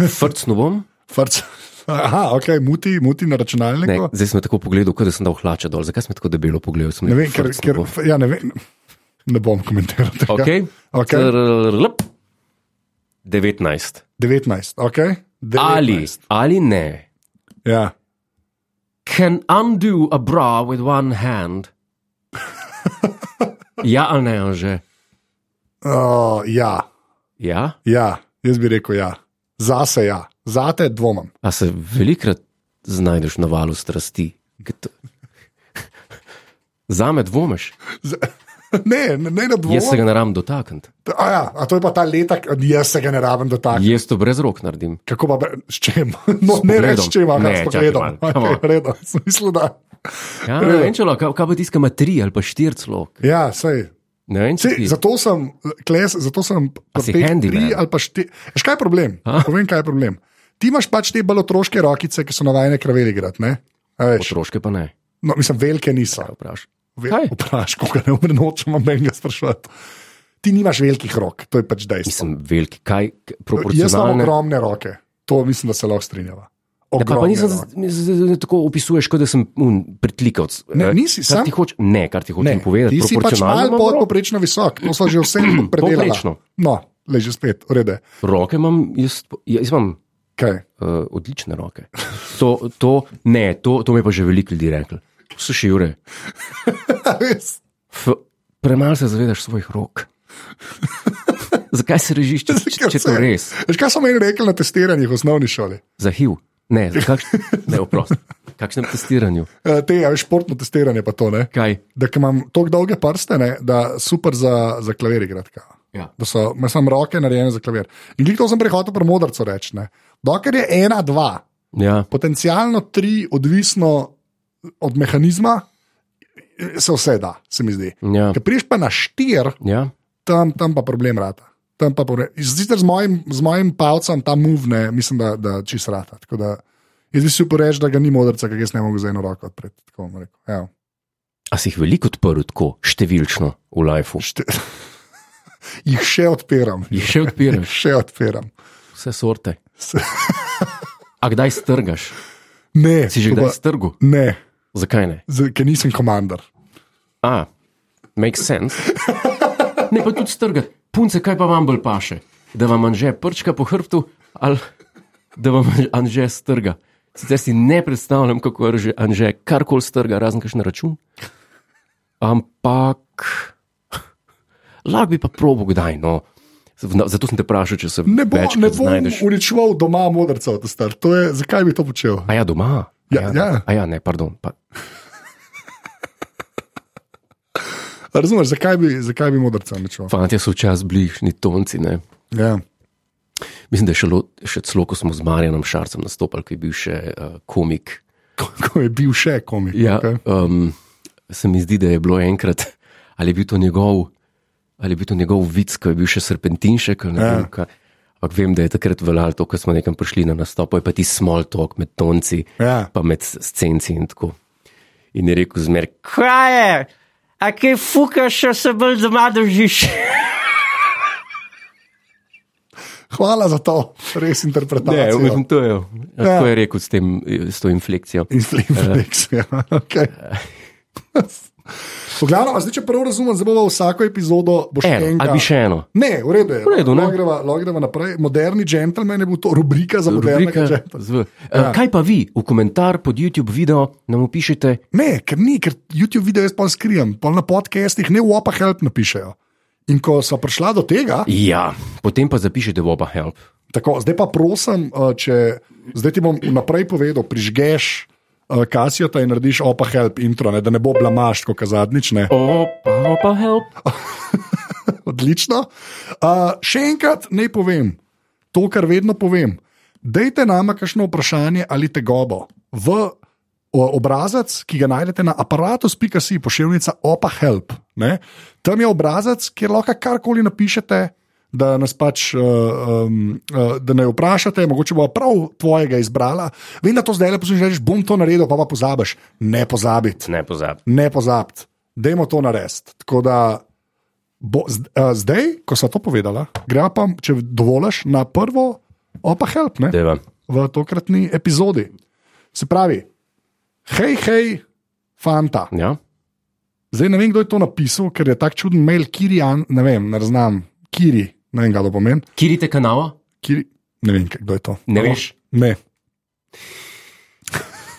Speaker 3: Frcno bom,
Speaker 2: Frc. Aha, okay, muti, muti na
Speaker 3: ne,
Speaker 2: računalniku.
Speaker 3: zdaj sem tako pogledal, kot da sem dal hlače dol. Zakaj sem tako debelo pogledal? Sem
Speaker 2: Ne, ne vem, ker,
Speaker 3: rekel, frcno
Speaker 2: ker
Speaker 3: bom.
Speaker 2: ja, ne vem. Ne bom komentiral tega.
Speaker 3: Okay.
Speaker 2: Okej.
Speaker 3: Trrrrlp. 19.
Speaker 2: 19, okay? 19.
Speaker 3: Ali, ali ne.
Speaker 2: Ja.
Speaker 3: Can undo a bra with one hand. Ja ali ne, Anže?
Speaker 2: Uh, ja.
Speaker 3: Ja?
Speaker 2: Ja, jaz bi rekel ja. Zase ja, zate dvomim.
Speaker 3: A se velikrat znajdeš na valu strasti? Ke to- Zame dvomiš,
Speaker 2: Z ne, ne, ne na
Speaker 3: jaz se
Speaker 2: dvomim.
Speaker 3: ga ne rabim dotakniti.
Speaker 2: A, ja, a to je pa ta leta, k- jaz se ga ne rabim dotakniti.
Speaker 3: Jaz to brez rok naredim.
Speaker 2: Kako pa, bre- s čim? No, ne
Speaker 3: pogledom.
Speaker 2: reč, če imaš,
Speaker 3: Ne,
Speaker 2: ampak
Speaker 3: čakaj
Speaker 2: gledam.
Speaker 3: malo, come on.
Speaker 2: Okay, redo, smislu, da.
Speaker 3: Ja, ne vem, če lahko, kaj pa tiska ima tri ali pa štiri celo.
Speaker 2: Ja, sej.
Speaker 3: Ne vem, če
Speaker 2: Sej,
Speaker 3: ti.
Speaker 2: zato sem, kles, zato sem
Speaker 3: si
Speaker 2: pri teh
Speaker 3: handyman?
Speaker 2: tri ali pa štiri. Veš, kaj je problem?
Speaker 3: A?
Speaker 2: Povem, kaj je problem. Ti imaš pač te balotroške rokice, ki so navajene kraveli igrati, ne? A veš,
Speaker 3: Otroške pa ne,
Speaker 2: no, mislim, velike niso.
Speaker 3: kaj vprašaj. Kaj?
Speaker 2: Vprašaj, kako ne umre nočem, ampak ga sprašovati. Ti nimaš velikih rok, to je pač dejstvo.
Speaker 3: Mislim, veliki, kaj
Speaker 2: Jaz
Speaker 3: k-
Speaker 2: imam
Speaker 3: proporcionalne.
Speaker 2: ogromne roke, to mislim, da se lahko strinjava.
Speaker 3: Ja, pa, pa
Speaker 2: Ogromne
Speaker 3: nisem
Speaker 2: roke.
Speaker 3: z- z- z- tako opisuješ, kot da sem un, pritlikavc.
Speaker 2: Ne,
Speaker 3: Eh,
Speaker 2: nisi,
Speaker 3: kar
Speaker 2: sam-
Speaker 3: ti hoč, ne, kar ti hočem
Speaker 2: Ne,
Speaker 3: ne,
Speaker 2: ti
Speaker 3: povedati.
Speaker 2: si pač
Speaker 3: proporcionalno
Speaker 2: malo
Speaker 3: imam
Speaker 2: pod
Speaker 3: ro-
Speaker 2: poprečno visok, to smo že vse predelali.
Speaker 3: Povprečno.
Speaker 2: No, leži spet, urede.
Speaker 3: Roke imam, jaz, po- ja, jaz imam
Speaker 2: Kaj?
Speaker 3: uh, odlične roke. To, to, ne, to, to mi je pa že veliko ljudi reklo. Slušaj, Jure,
Speaker 2: A res?
Speaker 3: f, premalo se zavedaš svojih rok. Zakaj se režiš, če, če,
Speaker 2: Ker
Speaker 3: če to
Speaker 2: se-
Speaker 3: res?
Speaker 2: Veš, kaj so meni rekli na testiranjih v osnovni šoli?
Speaker 3: Za HIV? Ne, za kakš, ne, oprosti. Kakšnem testiranju?
Speaker 2: Eh, Te, a veš, športno testiranje pa to ne.
Speaker 3: Kaj?
Speaker 2: Da ke imam tako dolge prste, ne, da super za, za klavir igratka.
Speaker 3: Ja.
Speaker 2: da so ima samo roke narejene za klavir. In glej, to sem prehotel pri modrcu reči. ne. Dokler je ena, dva,
Speaker 3: ja.
Speaker 2: potencialno tri, odvisno od mehanizma, se vse da, se mi zdi.
Speaker 3: Ja.
Speaker 2: Če priješ pa na štir,
Speaker 3: Ja.
Speaker 2: tam, tam pa problem rata. Tam pa problem. Zdaj z mojim, z mojim palcem ta muvne, mislim, da, da čist rata. Tako da, jaz bi si upal reči, da ga ni modrca, ki ga jaz ne mogu za eno roko odpreti. Tako bom rekel. Ja. Evo.
Speaker 3: A si jih veliko odprl tako, številčno v lifeu?
Speaker 2: Šti- Jih še odpiram,
Speaker 3: Jih še odpiraš,
Speaker 2: še odpiram.
Speaker 3: vse sorte.
Speaker 2: Se-
Speaker 3: A kdaj strgaš?
Speaker 2: Ne,
Speaker 3: Si že
Speaker 2: to
Speaker 3: kdaj
Speaker 2: pa-
Speaker 3: strgal?
Speaker 2: Ne,
Speaker 3: Zakaj ne?
Speaker 2: z- ker nisem komandar.
Speaker 3: A, makes sense. Ne pa tudi strgati. Punce, kaj pa vam bolj paše? Da vam anže prčka po hrbtu ali da vam anže strga? Sicer si ne predstavljam, kako je Anže karkoli strga, razen kakšen račun. Ampak lahko bi pa probo kdaj. No. Zna- Zato sem te vprašal, če se
Speaker 2: Ne, bo,
Speaker 3: več
Speaker 2: ne bom
Speaker 3: znajdeš.
Speaker 2: uničeval doma modrcev, ta star. To je, zakaj bi to počel?
Speaker 3: A ja, doma. A
Speaker 2: Ja, ja.
Speaker 3: A ja ne, pardon. Pa,
Speaker 2: A Razumeš, zakaj bi, zakaj bi modrcev uničeval?
Speaker 3: fantje so včasih bližnji tonci. Ne.
Speaker 2: Ja.
Speaker 3: Mislim, da je še, lo, še celo, ko smo z Marjanom Šarcem nastopili, ki je bil še uh, komik.
Speaker 2: Ko je bil še komik.
Speaker 3: Ja,
Speaker 2: okej.
Speaker 3: okay. um, se mi zdi, da je bilo enkrat, ali je bil to njegov, ali je bil to njegov vic, ko je bil še serpentinšek. ali ne
Speaker 2: Ja.
Speaker 3: vem kaj. Ampak vem, da je takrat veljalo to, ko smo nekam prišli na nastop, je pa ti small talk med tonci,
Speaker 2: Ja.
Speaker 3: pa med scenci in tako. In je rekel zmer, kaj je, a kaj fukaš, če se bolj doma držiš.
Speaker 2: Hvala za to, res
Speaker 3: Ne,
Speaker 2: interpretacijo.
Speaker 3: mislim, to je,
Speaker 2: Ja.
Speaker 3: ja. je rekel s, tem, s to inflekcijo. Eh.
Speaker 2: Inflexija. Okay. Poglavno, zdaj, če prav razumem, zdaj bo vsako epizodo boš
Speaker 3: Eno,
Speaker 2: enega-
Speaker 3: ali bi še eno.
Speaker 2: Ne, v redu je.
Speaker 3: V redu, ne.
Speaker 2: Lahko greva- lahko greva naprej. Moderni džentlmen je bil to rubrika za modernega
Speaker 3: Rubrika
Speaker 2: džentlmena.
Speaker 3: z V. Ja. Kaj pa vi, v komentar pod YouTube video nam pišete,
Speaker 2: Ne, ker ni, ker YouTube video jaz pa skrijem, pa na podcestih ne v opa help napišejo. In ko so prišla do tega,
Speaker 3: ja, potem pa zapišete v oba help.
Speaker 2: Tako, zdaj pa prosim, eh, če zdaj ti bom naprej povedal, prižgeš eh, kasijota in narediš opa help intro, ne, da ne bo blamaš, kot zadnjič. Ne.
Speaker 3: Opa, opa help.
Speaker 2: Odlično. Uh, še enkrat naj povem, to, kar vedno povem. Dajte nama kakšno vprašanje ali tegobo v o, obrazec, ki ga najdete na aparatus.si, pošiljka opa help. Ne? Tam je obrazec, kjer lahko karkoli napišete. Da nas pač, uh, um, uh, da ne vprašate, mogoče bo prav tvojega izbrala. Vem, da to zdaj lepo že rečeš, bom to naredil, pa pa pozabiš. Ne pozabiti
Speaker 3: Ne pozabi.
Speaker 2: ne pozabiti, dajmo to narediti. Tako da bo, z- eh, zdaj, ko sem to povedala, gre pa, če dovoliš, na prvo, opa help, ne,
Speaker 3: Deva.
Speaker 2: v tokratni epizodi. Se pravi, hej, hej, fanta.
Speaker 3: Ja,
Speaker 2: Zdaj ne vem, kdo je to napisal, ker je tako čuden mail, Kirijan, ne vem, ne raznam, Kiri, ne vem, kaj to pomeni.
Speaker 3: kirite kanala,
Speaker 2: Kiri, ne vem, kdo je to.
Speaker 3: ne veš.
Speaker 2: Ne.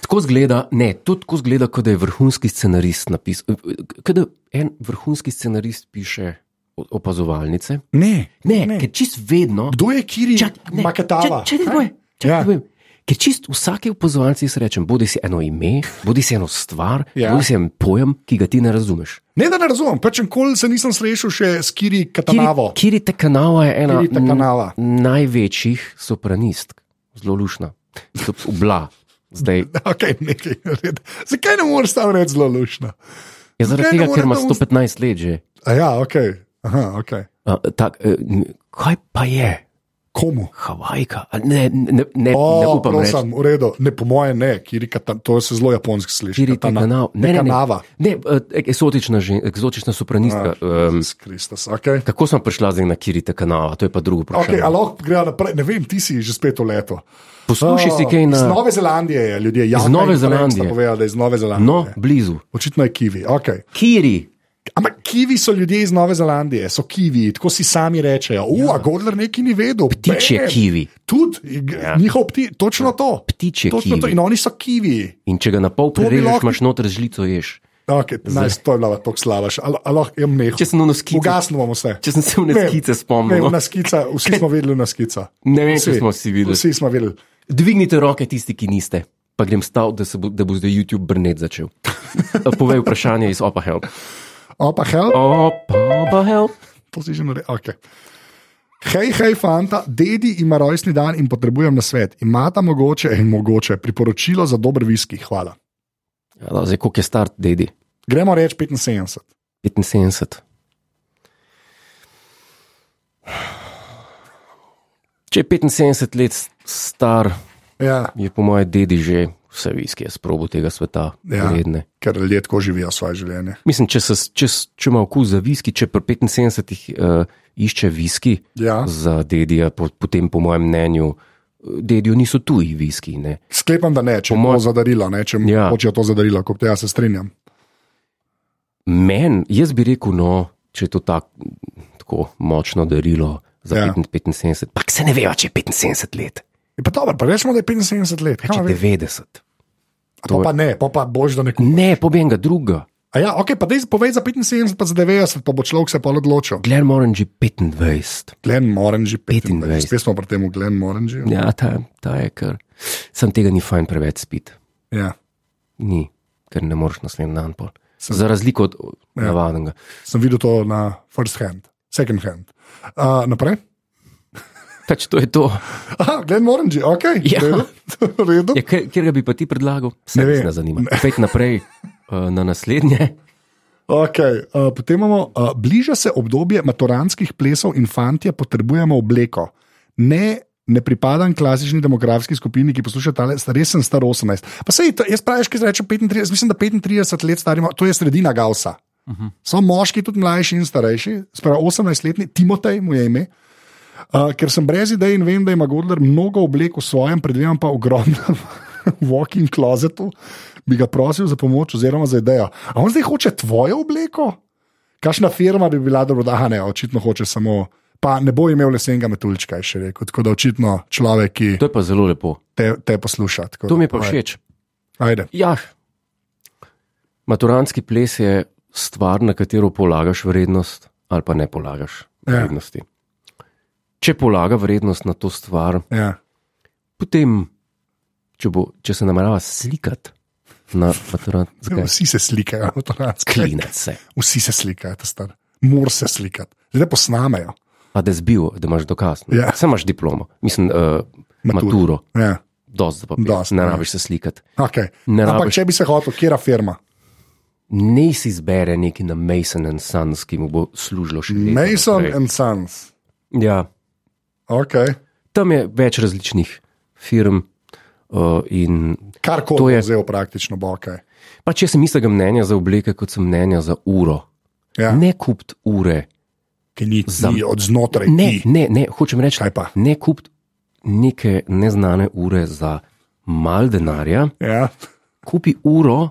Speaker 3: Tako zgleda, ne, to tako zgleda, kot da je vrhunski scenarist napisal. eh, Kot da en vrhunski scenarist piše o- opazovalnice.
Speaker 2: ne.
Speaker 3: Ne, ne. ker čist vedno.
Speaker 2: Kdo je Kiri,
Speaker 3: Čak, ne,
Speaker 2: maketava?
Speaker 3: čak- Če ti povem, če
Speaker 2: Ja.
Speaker 3: ti povem. Ker čist vsake opozovalce jaz rečem, bodi si eno ime, bodi si eno stvar,
Speaker 2: Ja.
Speaker 3: ja. bodi si en pojem, ki ga ti ne razumeš.
Speaker 2: Ne, da ne razumem, pač nikoli se nisem srečal še s Kiri Katanavo.
Speaker 3: Kiri Tekanava je ena
Speaker 2: Kiri Takanava.
Speaker 3: n- največjih sopranistk, zelo lušna, so obla. Zdaj,
Speaker 2: Okay, nekaj, v redu. Zakaj ne moreš tam reči zelo lušna?
Speaker 3: je zaradi
Speaker 2: Zakaj ne
Speaker 3: tega, ker ima
Speaker 2: morete ust-
Speaker 3: 115 let že.
Speaker 2: A ja, ok. Aha, okay.
Speaker 3: A, tak, eh, n- kaj pa je,
Speaker 2: Komu?
Speaker 3: Havajka? A Ne, ne, ne,
Speaker 2: O,
Speaker 3: ne upam reči.
Speaker 2: prosim, v redu. Ne, po moje ne, Kirika, to se zelo japonsko sliši.
Speaker 3: Kiri
Speaker 2: Katana-
Speaker 3: Tekanav- ne, ne, ne.
Speaker 2: Tekanava.
Speaker 3: Ne, eh, eksotična, žen, eksotična sopranistka. Um,
Speaker 2: S Ah, Kristus, ok.
Speaker 3: Kako sem prišla zdaj na Kirita kanala, to je pa drugo
Speaker 2: Ok,
Speaker 3: vprašanje.
Speaker 2: ali lahko gremo naprej, ne vem, ti si že spet v leto.
Speaker 3: Poslušaj si kaj na
Speaker 2: Iz Nove Zelandije je ljudje, ja,
Speaker 3: Nove Zelandije.
Speaker 2: Povedali, da je iz Nove Zelandije.
Speaker 3: no, blizu.
Speaker 2: Očitno je kivi. Okay.
Speaker 3: Kiri,
Speaker 2: Ampak kivi so ljudje iz Nove Zelandije, so kivi, tako si sami rečejo. Uf, ja. Godler neki ni vedel.
Speaker 3: ptičje
Speaker 2: Bam!
Speaker 3: kivi.
Speaker 2: Tudi ja. njihov pti, točno to.
Speaker 3: Ptičje
Speaker 2: točno
Speaker 3: kiwi.
Speaker 2: To. In oni so kivi.
Speaker 3: In če ga na pol
Speaker 2: bi
Speaker 3: prerežeš,
Speaker 2: lahko-
Speaker 3: imaš noter žlico, ješ.
Speaker 2: Okay, nice, to je bila tako slava, ali jim ne.
Speaker 3: Če sem v skice-
Speaker 2: Ugasno bomo vse.
Speaker 3: Če sem se v
Speaker 2: Ne,
Speaker 3: neskice
Speaker 2: ne, v
Speaker 3: spomnil. no.
Speaker 2: na skica, vsi smo videli na skica.
Speaker 3: Ne vem, če smo vsi videli.
Speaker 2: Vsi smo videli.
Speaker 3: Dvignite roke tisti, ki niste. Pa grem stav, da, se bo, da bo zdaj YouTube brnet začel. Povej vprašanje iz Opa Help.
Speaker 2: Opa, hel,
Speaker 3: Opa, opa Help.
Speaker 2: to si že naredil. Okay. Hej, hej, fanta, dedi ima rojstni dan in potrebujem na svet. Imata mogoče, eh, mogoče priporočilo za dober viski, hvala.
Speaker 3: Ja, da, zdaj, koliko je star, dedi?
Speaker 2: Gremo reči 75.
Speaker 3: 75. Če je 75 let star,
Speaker 2: Ja,
Speaker 3: je po mojem dedi že vse viske, sprobo tega sveta,
Speaker 2: Ja.
Speaker 3: ja. redne.
Speaker 2: ker ljudje tako živijo svoje življenje.
Speaker 3: Mislim, če, se, če, s- če ima okus za viski, če pri 75-ih uh, išče viski
Speaker 2: Ja.
Speaker 3: za dedija, po, potem, po mojem mnenju, eh, dedijo niso tuji viski. Ne?
Speaker 2: Sklepam, da ne, če mu
Speaker 3: mojem-
Speaker 2: zadarilo, ne, če mu ja.
Speaker 3: Ja.
Speaker 2: hočejo to zadarilo, kot jaz se strinjam.
Speaker 3: Men, jaz bi rekel, no, če je to tak, tako močno darilo za
Speaker 2: Ja.
Speaker 3: ja. 75, pa se ne ve, če je 75 let.
Speaker 2: Je Pa dobro, pa rečemo, da je 75 let.
Speaker 3: Reče
Speaker 2: Kaj, ve-
Speaker 3: 90.
Speaker 2: A to pa ne, pa, pa boš do nekoga.
Speaker 3: Ne, pobjem ga drugega.
Speaker 2: A Ja, ok, pa dej povej za 75, pa za 90, pa bo človek se pa odločil.
Speaker 3: Glen Morange je 25.
Speaker 2: Glen Morange, 25.
Speaker 3: 25.
Speaker 2: Spet smo pri tem Glen Morange.
Speaker 3: Ja, ta, ta je kar. Sam tega ni fajn preveč spiti.
Speaker 2: Ja.
Speaker 3: Ni, ker ne moreš naslednji dan pol. Za razliko od ja. navadnega.
Speaker 2: Sem videl to na first hand, second hand. Uh, naprej.
Speaker 3: Pač to je to.
Speaker 2: Aha, Glen Morange, ok.
Speaker 3: Ja.
Speaker 2: v redu, v redu.
Speaker 3: Ja, kjer, kjer ga bi pa ti predlagal, se
Speaker 2: Ne
Speaker 3: ne,
Speaker 2: vem.
Speaker 3: ne zanima. Pet naprej uh, na naslednje.
Speaker 2: Okay, uh, potem imamo, uh, bliža se obdobje maturantskih plesov in fantje potrebujemo obleko. Ne, ne pripadam klasični demografski skupini, ki posluša tale, res sem star 18. Pa sej, to, jaz praviš, ki rečem 35, mislim, da 35 let starimo, to je sredina Gausa. Uh -huh. So moški, tudi mlajši in starejši, spravo 18-letni, Timotej mu je ime. Uh, ker sem brez idej in vem, da ima Godler mnogo oblek v svojem, predvidevam pa ogromnem walk-in closetu, bi ga prosil za pomoč oziroma za idejo. A on zdaj hoče tvojo obleko? Kakšna firma bi bila dobrodošla? Ne, očitno hoče samo. Pa ne bo imel lesenega metuljčka, je še rekel. Tako da očitno človek, ki
Speaker 3: To je pa zelo lepo.
Speaker 2: te, te posluša. tako
Speaker 3: To
Speaker 2: da,
Speaker 3: mi je pa
Speaker 2: povej.
Speaker 3: všeč.
Speaker 2: Ajde.
Speaker 3: Ja. Maturantski ples je stvar, na katero polagaš vrednost, ali pa ne polagaš
Speaker 2: Ja.
Speaker 3: vrednosti. Ja. Če polaga vrednost na to stvar,
Speaker 2: Ja.
Speaker 3: potem, če, bo, če se namerava slikati na maturant, zakaj
Speaker 2: Vsi se slikajo, avtomatsko.
Speaker 3: klinec se.
Speaker 2: Vsi se slikajo, ta star. Mor se slikati. Ljudje posnamejo.
Speaker 3: A da zbil, da imaš dokaz.
Speaker 2: Ja.
Speaker 3: Ja. Sem imaš diplomo, mislim, uh,
Speaker 2: Maturo.
Speaker 3: maturo. maturo.
Speaker 2: Ja.
Speaker 3: Dost, papir,
Speaker 2: Dost,
Speaker 3: Dost, ne
Speaker 2: ja.
Speaker 3: rabiš se slikati.
Speaker 2: Okay.
Speaker 3: Ne
Speaker 2: Ampak,
Speaker 3: rabiš.
Speaker 2: če bi se hotel, kera firma?
Speaker 3: Ne si izbere neki na Mason and Sons, ki mu bo služilo še leta
Speaker 2: Mason
Speaker 3: naprej.
Speaker 2: and Sons.
Speaker 3: Ja.
Speaker 2: Okay.
Speaker 3: Tam je več različnih firm. Uh, in
Speaker 2: Kar
Speaker 3: To
Speaker 2: koli je
Speaker 3: je-
Speaker 2: vzel, praktično bo ok.
Speaker 3: pa če sem istega mnenja za obleke, kot sem mnenja za uro.
Speaker 2: Ja.
Speaker 3: Ne kupiti ure.
Speaker 2: Ki ni,
Speaker 3: Za-
Speaker 2: ni od znotraj.
Speaker 3: Ne,
Speaker 2: ni.
Speaker 3: ne, ne, hočem reči,
Speaker 2: Torej Kaj pa?
Speaker 3: ne kupiti neke neznane ure za mal denarja.
Speaker 2: Ja.
Speaker 3: Kupi uro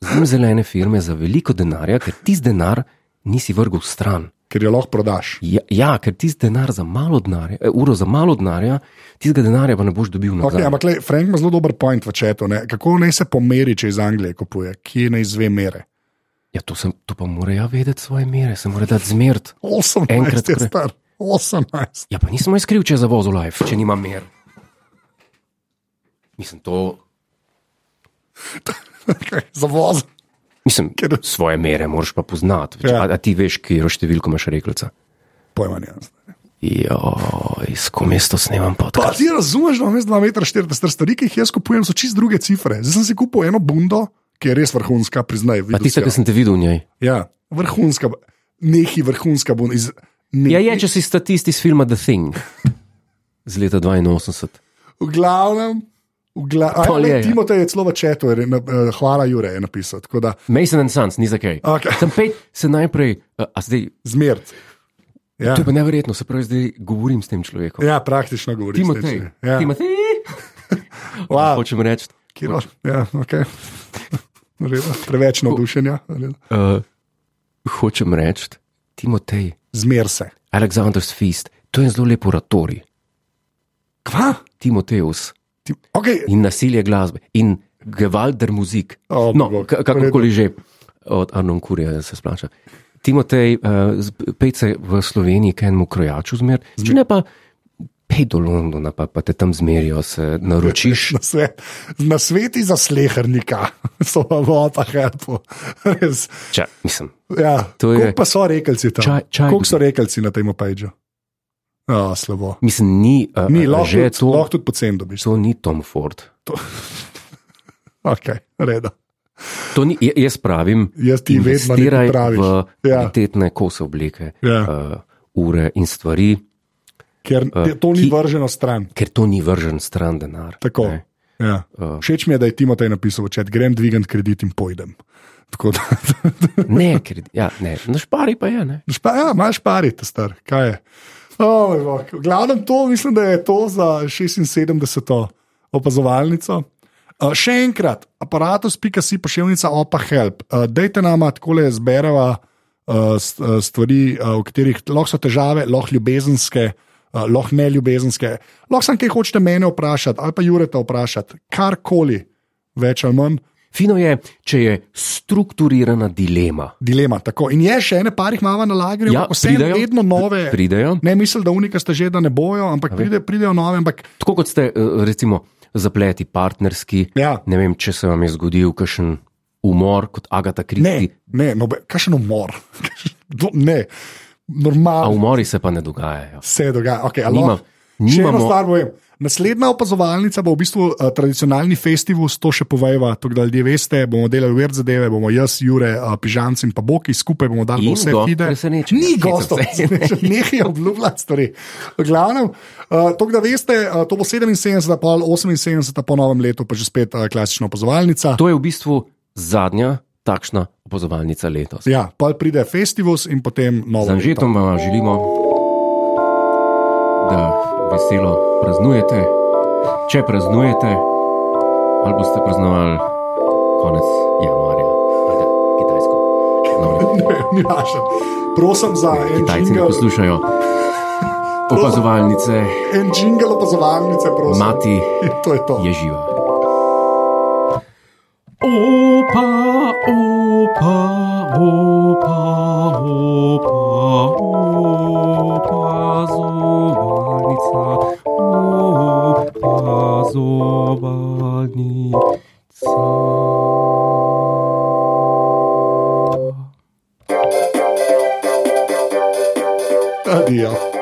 Speaker 3: z njim zelene firme za veliko denarja, ker tisti denar nisi vrgel stran.
Speaker 2: Ker jo lahko prodaš.
Speaker 3: Ja, ja ker tisti denar za malo denarja, eh, uro za malo denarja, tistega denarja pa ne boš dobil nazaj.
Speaker 2: Okay, ampak, le, Frank ima zelo dober point v četu. ne. Kako naj se pomeri, če iz Anglije kupuje, kje naj izve mere.
Speaker 3: Ja, to, sem, to pa mora ja vedeti svoje mere, se mora dati zmert.
Speaker 2: 18
Speaker 3: Enkrat
Speaker 2: je
Speaker 3: kre-
Speaker 2: star, 18.
Speaker 3: Ja, pa nisem jaz kriv, če je zavozil life, če nima mer. Mislim, to.
Speaker 2: Okay, za voz.
Speaker 3: Mislim, svoje mere moraš pa poznati.
Speaker 2: Ja.
Speaker 3: Ja. A, a ti veš, kje je številko imaš rekelca.
Speaker 2: Pojma ne. jaz.
Speaker 3: Ja, iz komesto snemam
Speaker 2: Pa
Speaker 3: podcast.
Speaker 2: ti razumeš, da imaš 2,40 m stvari, ki jih jaz kupujem, so čist druge cifre. Zdaj sem si kupil eno bundo, ki je res vrhunska, priznaj. videl
Speaker 3: Pa
Speaker 2: si
Speaker 3: tiste,
Speaker 2: jo.
Speaker 3: ki sem te videl v njej.
Speaker 2: Ja, vrhunska, neki vrhunska bunda. Iz, ne,
Speaker 3: Ja, je, če si statist iz filma The Thing z leta 82.
Speaker 2: V glavnem, v glavnem.
Speaker 3: Pol je,
Speaker 2: Ja,
Speaker 3: ja.
Speaker 2: Timotej je celo v četu, je na- eh, hvala Jure je napisal. Tako da,
Speaker 3: Mason and Sons, ni zakaj.
Speaker 2: Okej.
Speaker 3: Sem pet, se najprej, a, a zdaj,
Speaker 2: zmerd. Ja,
Speaker 3: to je pa neverjetno, se pravi, zdaj govorim s tem človekom.
Speaker 2: ja, praktično govori.
Speaker 3: Timotej,
Speaker 2: Ja.
Speaker 3: Timotej.
Speaker 2: Wow.
Speaker 3: Hočem reči.
Speaker 2: Kiro, ja, okay. V redu, Preveč navdušenja. v redu.
Speaker 3: Uh, hočem reči, Timotej,
Speaker 2: Zmer se.
Speaker 3: Aleksandr Fist, to je en zelo lep oratorij,
Speaker 2: Kva?
Speaker 3: Timoteus
Speaker 2: Ti, okay.
Speaker 3: in nasilje glasbe in Gewalder muzik.
Speaker 2: O,
Speaker 3: no,
Speaker 2: bog,
Speaker 3: ka- kakorkoli že, od Arnon Kurja se splača. Timotej, uh, pej se v Sloveniji k enemu krojaču zmer, če ne pa pej do Londona, pa, pa te tam zmerijo, se naročiš.
Speaker 2: Na, svet, na sveti za slehrnika so v avtah, res.
Speaker 3: Ča, mislim,
Speaker 2: Ja.
Speaker 3: To je-
Speaker 2: Kako pa so rekelci tam?
Speaker 3: Čaj- čaj-
Speaker 2: Kako so rekelci na tem opajdu? Oh, slabo.
Speaker 3: mislim, ni, uh,
Speaker 2: Ni, lahko
Speaker 3: že
Speaker 2: tudi,
Speaker 3: to,
Speaker 2: lahko tudi pocen dobiš.
Speaker 3: to ni Tom Ford.
Speaker 2: Okay, reda.
Speaker 3: To ni, je- jaz pravim,
Speaker 2: Jaz ti vedno
Speaker 3: investiraj
Speaker 2: nekaj praviš.
Speaker 3: v
Speaker 2: Ja.
Speaker 3: kvalitetne kose obleke,
Speaker 2: Ja.
Speaker 3: uh, ure in stvari,
Speaker 2: Ker te- to ni
Speaker 3: ki-
Speaker 2: vrženo stran.
Speaker 3: ker to ni vržen stran denar.
Speaker 2: Tako.
Speaker 3: ne.
Speaker 2: Ja. Všeč mi je, da je Timotej napisal, če grem dvigant kredit in pojdem. Tako da,
Speaker 3: Ne, ker, ja, ne, na špari pa je. Ne.
Speaker 2: špa, ja, imaš parite, star, kaj je. Oh, v glavnem to, mislim, da je to za 76. opazovalnico. Uh, še enkrat, aparatus.si pošiljnica opa help. Uh, dejte nama takole eh, zbereva uh, st- uh, stvari, uh, v katerih lahko so težave, lahko ljubezenske, uh, lahko ne ljubezenske, lahko sem kaj hočete mene vprašati ali pa Jureta vprašati, karkoli, več ali manj.
Speaker 3: Fino je, če je strukturirana dilema.
Speaker 2: Dilema. Tako. In je še ene parih mava na lagerju,
Speaker 3: Ja,
Speaker 2: ampak vse
Speaker 3: pridejo,
Speaker 2: vedno nove.
Speaker 3: Pridejo.
Speaker 2: Ne mislim, da unika ste že, da ne bojo, ampak pride, pridejo nove. Ampak,
Speaker 3: Tako kot ste, eh, recimo, zapleti partnerski.
Speaker 2: ja,
Speaker 3: Ne vem, če se vam je zgodil kakšen umor kot Agata
Speaker 2: ne,
Speaker 3: Kristi.
Speaker 2: ne, no, kakšen umor. Do, ne,
Speaker 3: A um-
Speaker 2: normalno
Speaker 3: umori se pa ne dogajajo.
Speaker 2: se dogaja. Okay,
Speaker 3: Nima-
Speaker 2: Nima, še eno
Speaker 3: nimamo-
Speaker 2: stvar povem. Naslednja opazovalnica bo v bistvu uh, tradicionalni festival, s to še poveva, tako da ljudje veste, bomo delali vrt zadeve, bomo jaz, Jure, uh, Pižanc in pa Boki, skupaj bomo dali
Speaker 3: In
Speaker 2: vse
Speaker 3: go-
Speaker 2: fide.
Speaker 3: presenečenje.
Speaker 2: Ni
Speaker 3: Hecam
Speaker 2: gostov,
Speaker 3: se.
Speaker 2: nekaj obljubljati stvari. V glavnem, uh, tako da veste, uh, to bo 77, pa 78 po novem letu, pa že spet uh, klasična opazovalnica.
Speaker 3: To je v bistvu zadnja takšna opazovalnica letos.
Speaker 2: Ja, pa pride festival in potem
Speaker 3: Z
Speaker 2: novo. leto.
Speaker 3: Anžetom vam želimo, da veselo praznujete. Če praznujete, ali boste praznovali konec januarja, ali kitajsko. No, ne.
Speaker 2: Ne, ni važno. Ja, Prosim za en
Speaker 3: Kitajci ne
Speaker 2: jingle,
Speaker 3: poslušajo. Opazovalnice,
Speaker 2: en jingle opazovalnice, prosim.
Speaker 3: mati
Speaker 2: In to je to.
Speaker 3: je živa. Opa, opa, opa, opa, opa, zobalnica, opa, zobalnica.
Speaker 2: Adijo.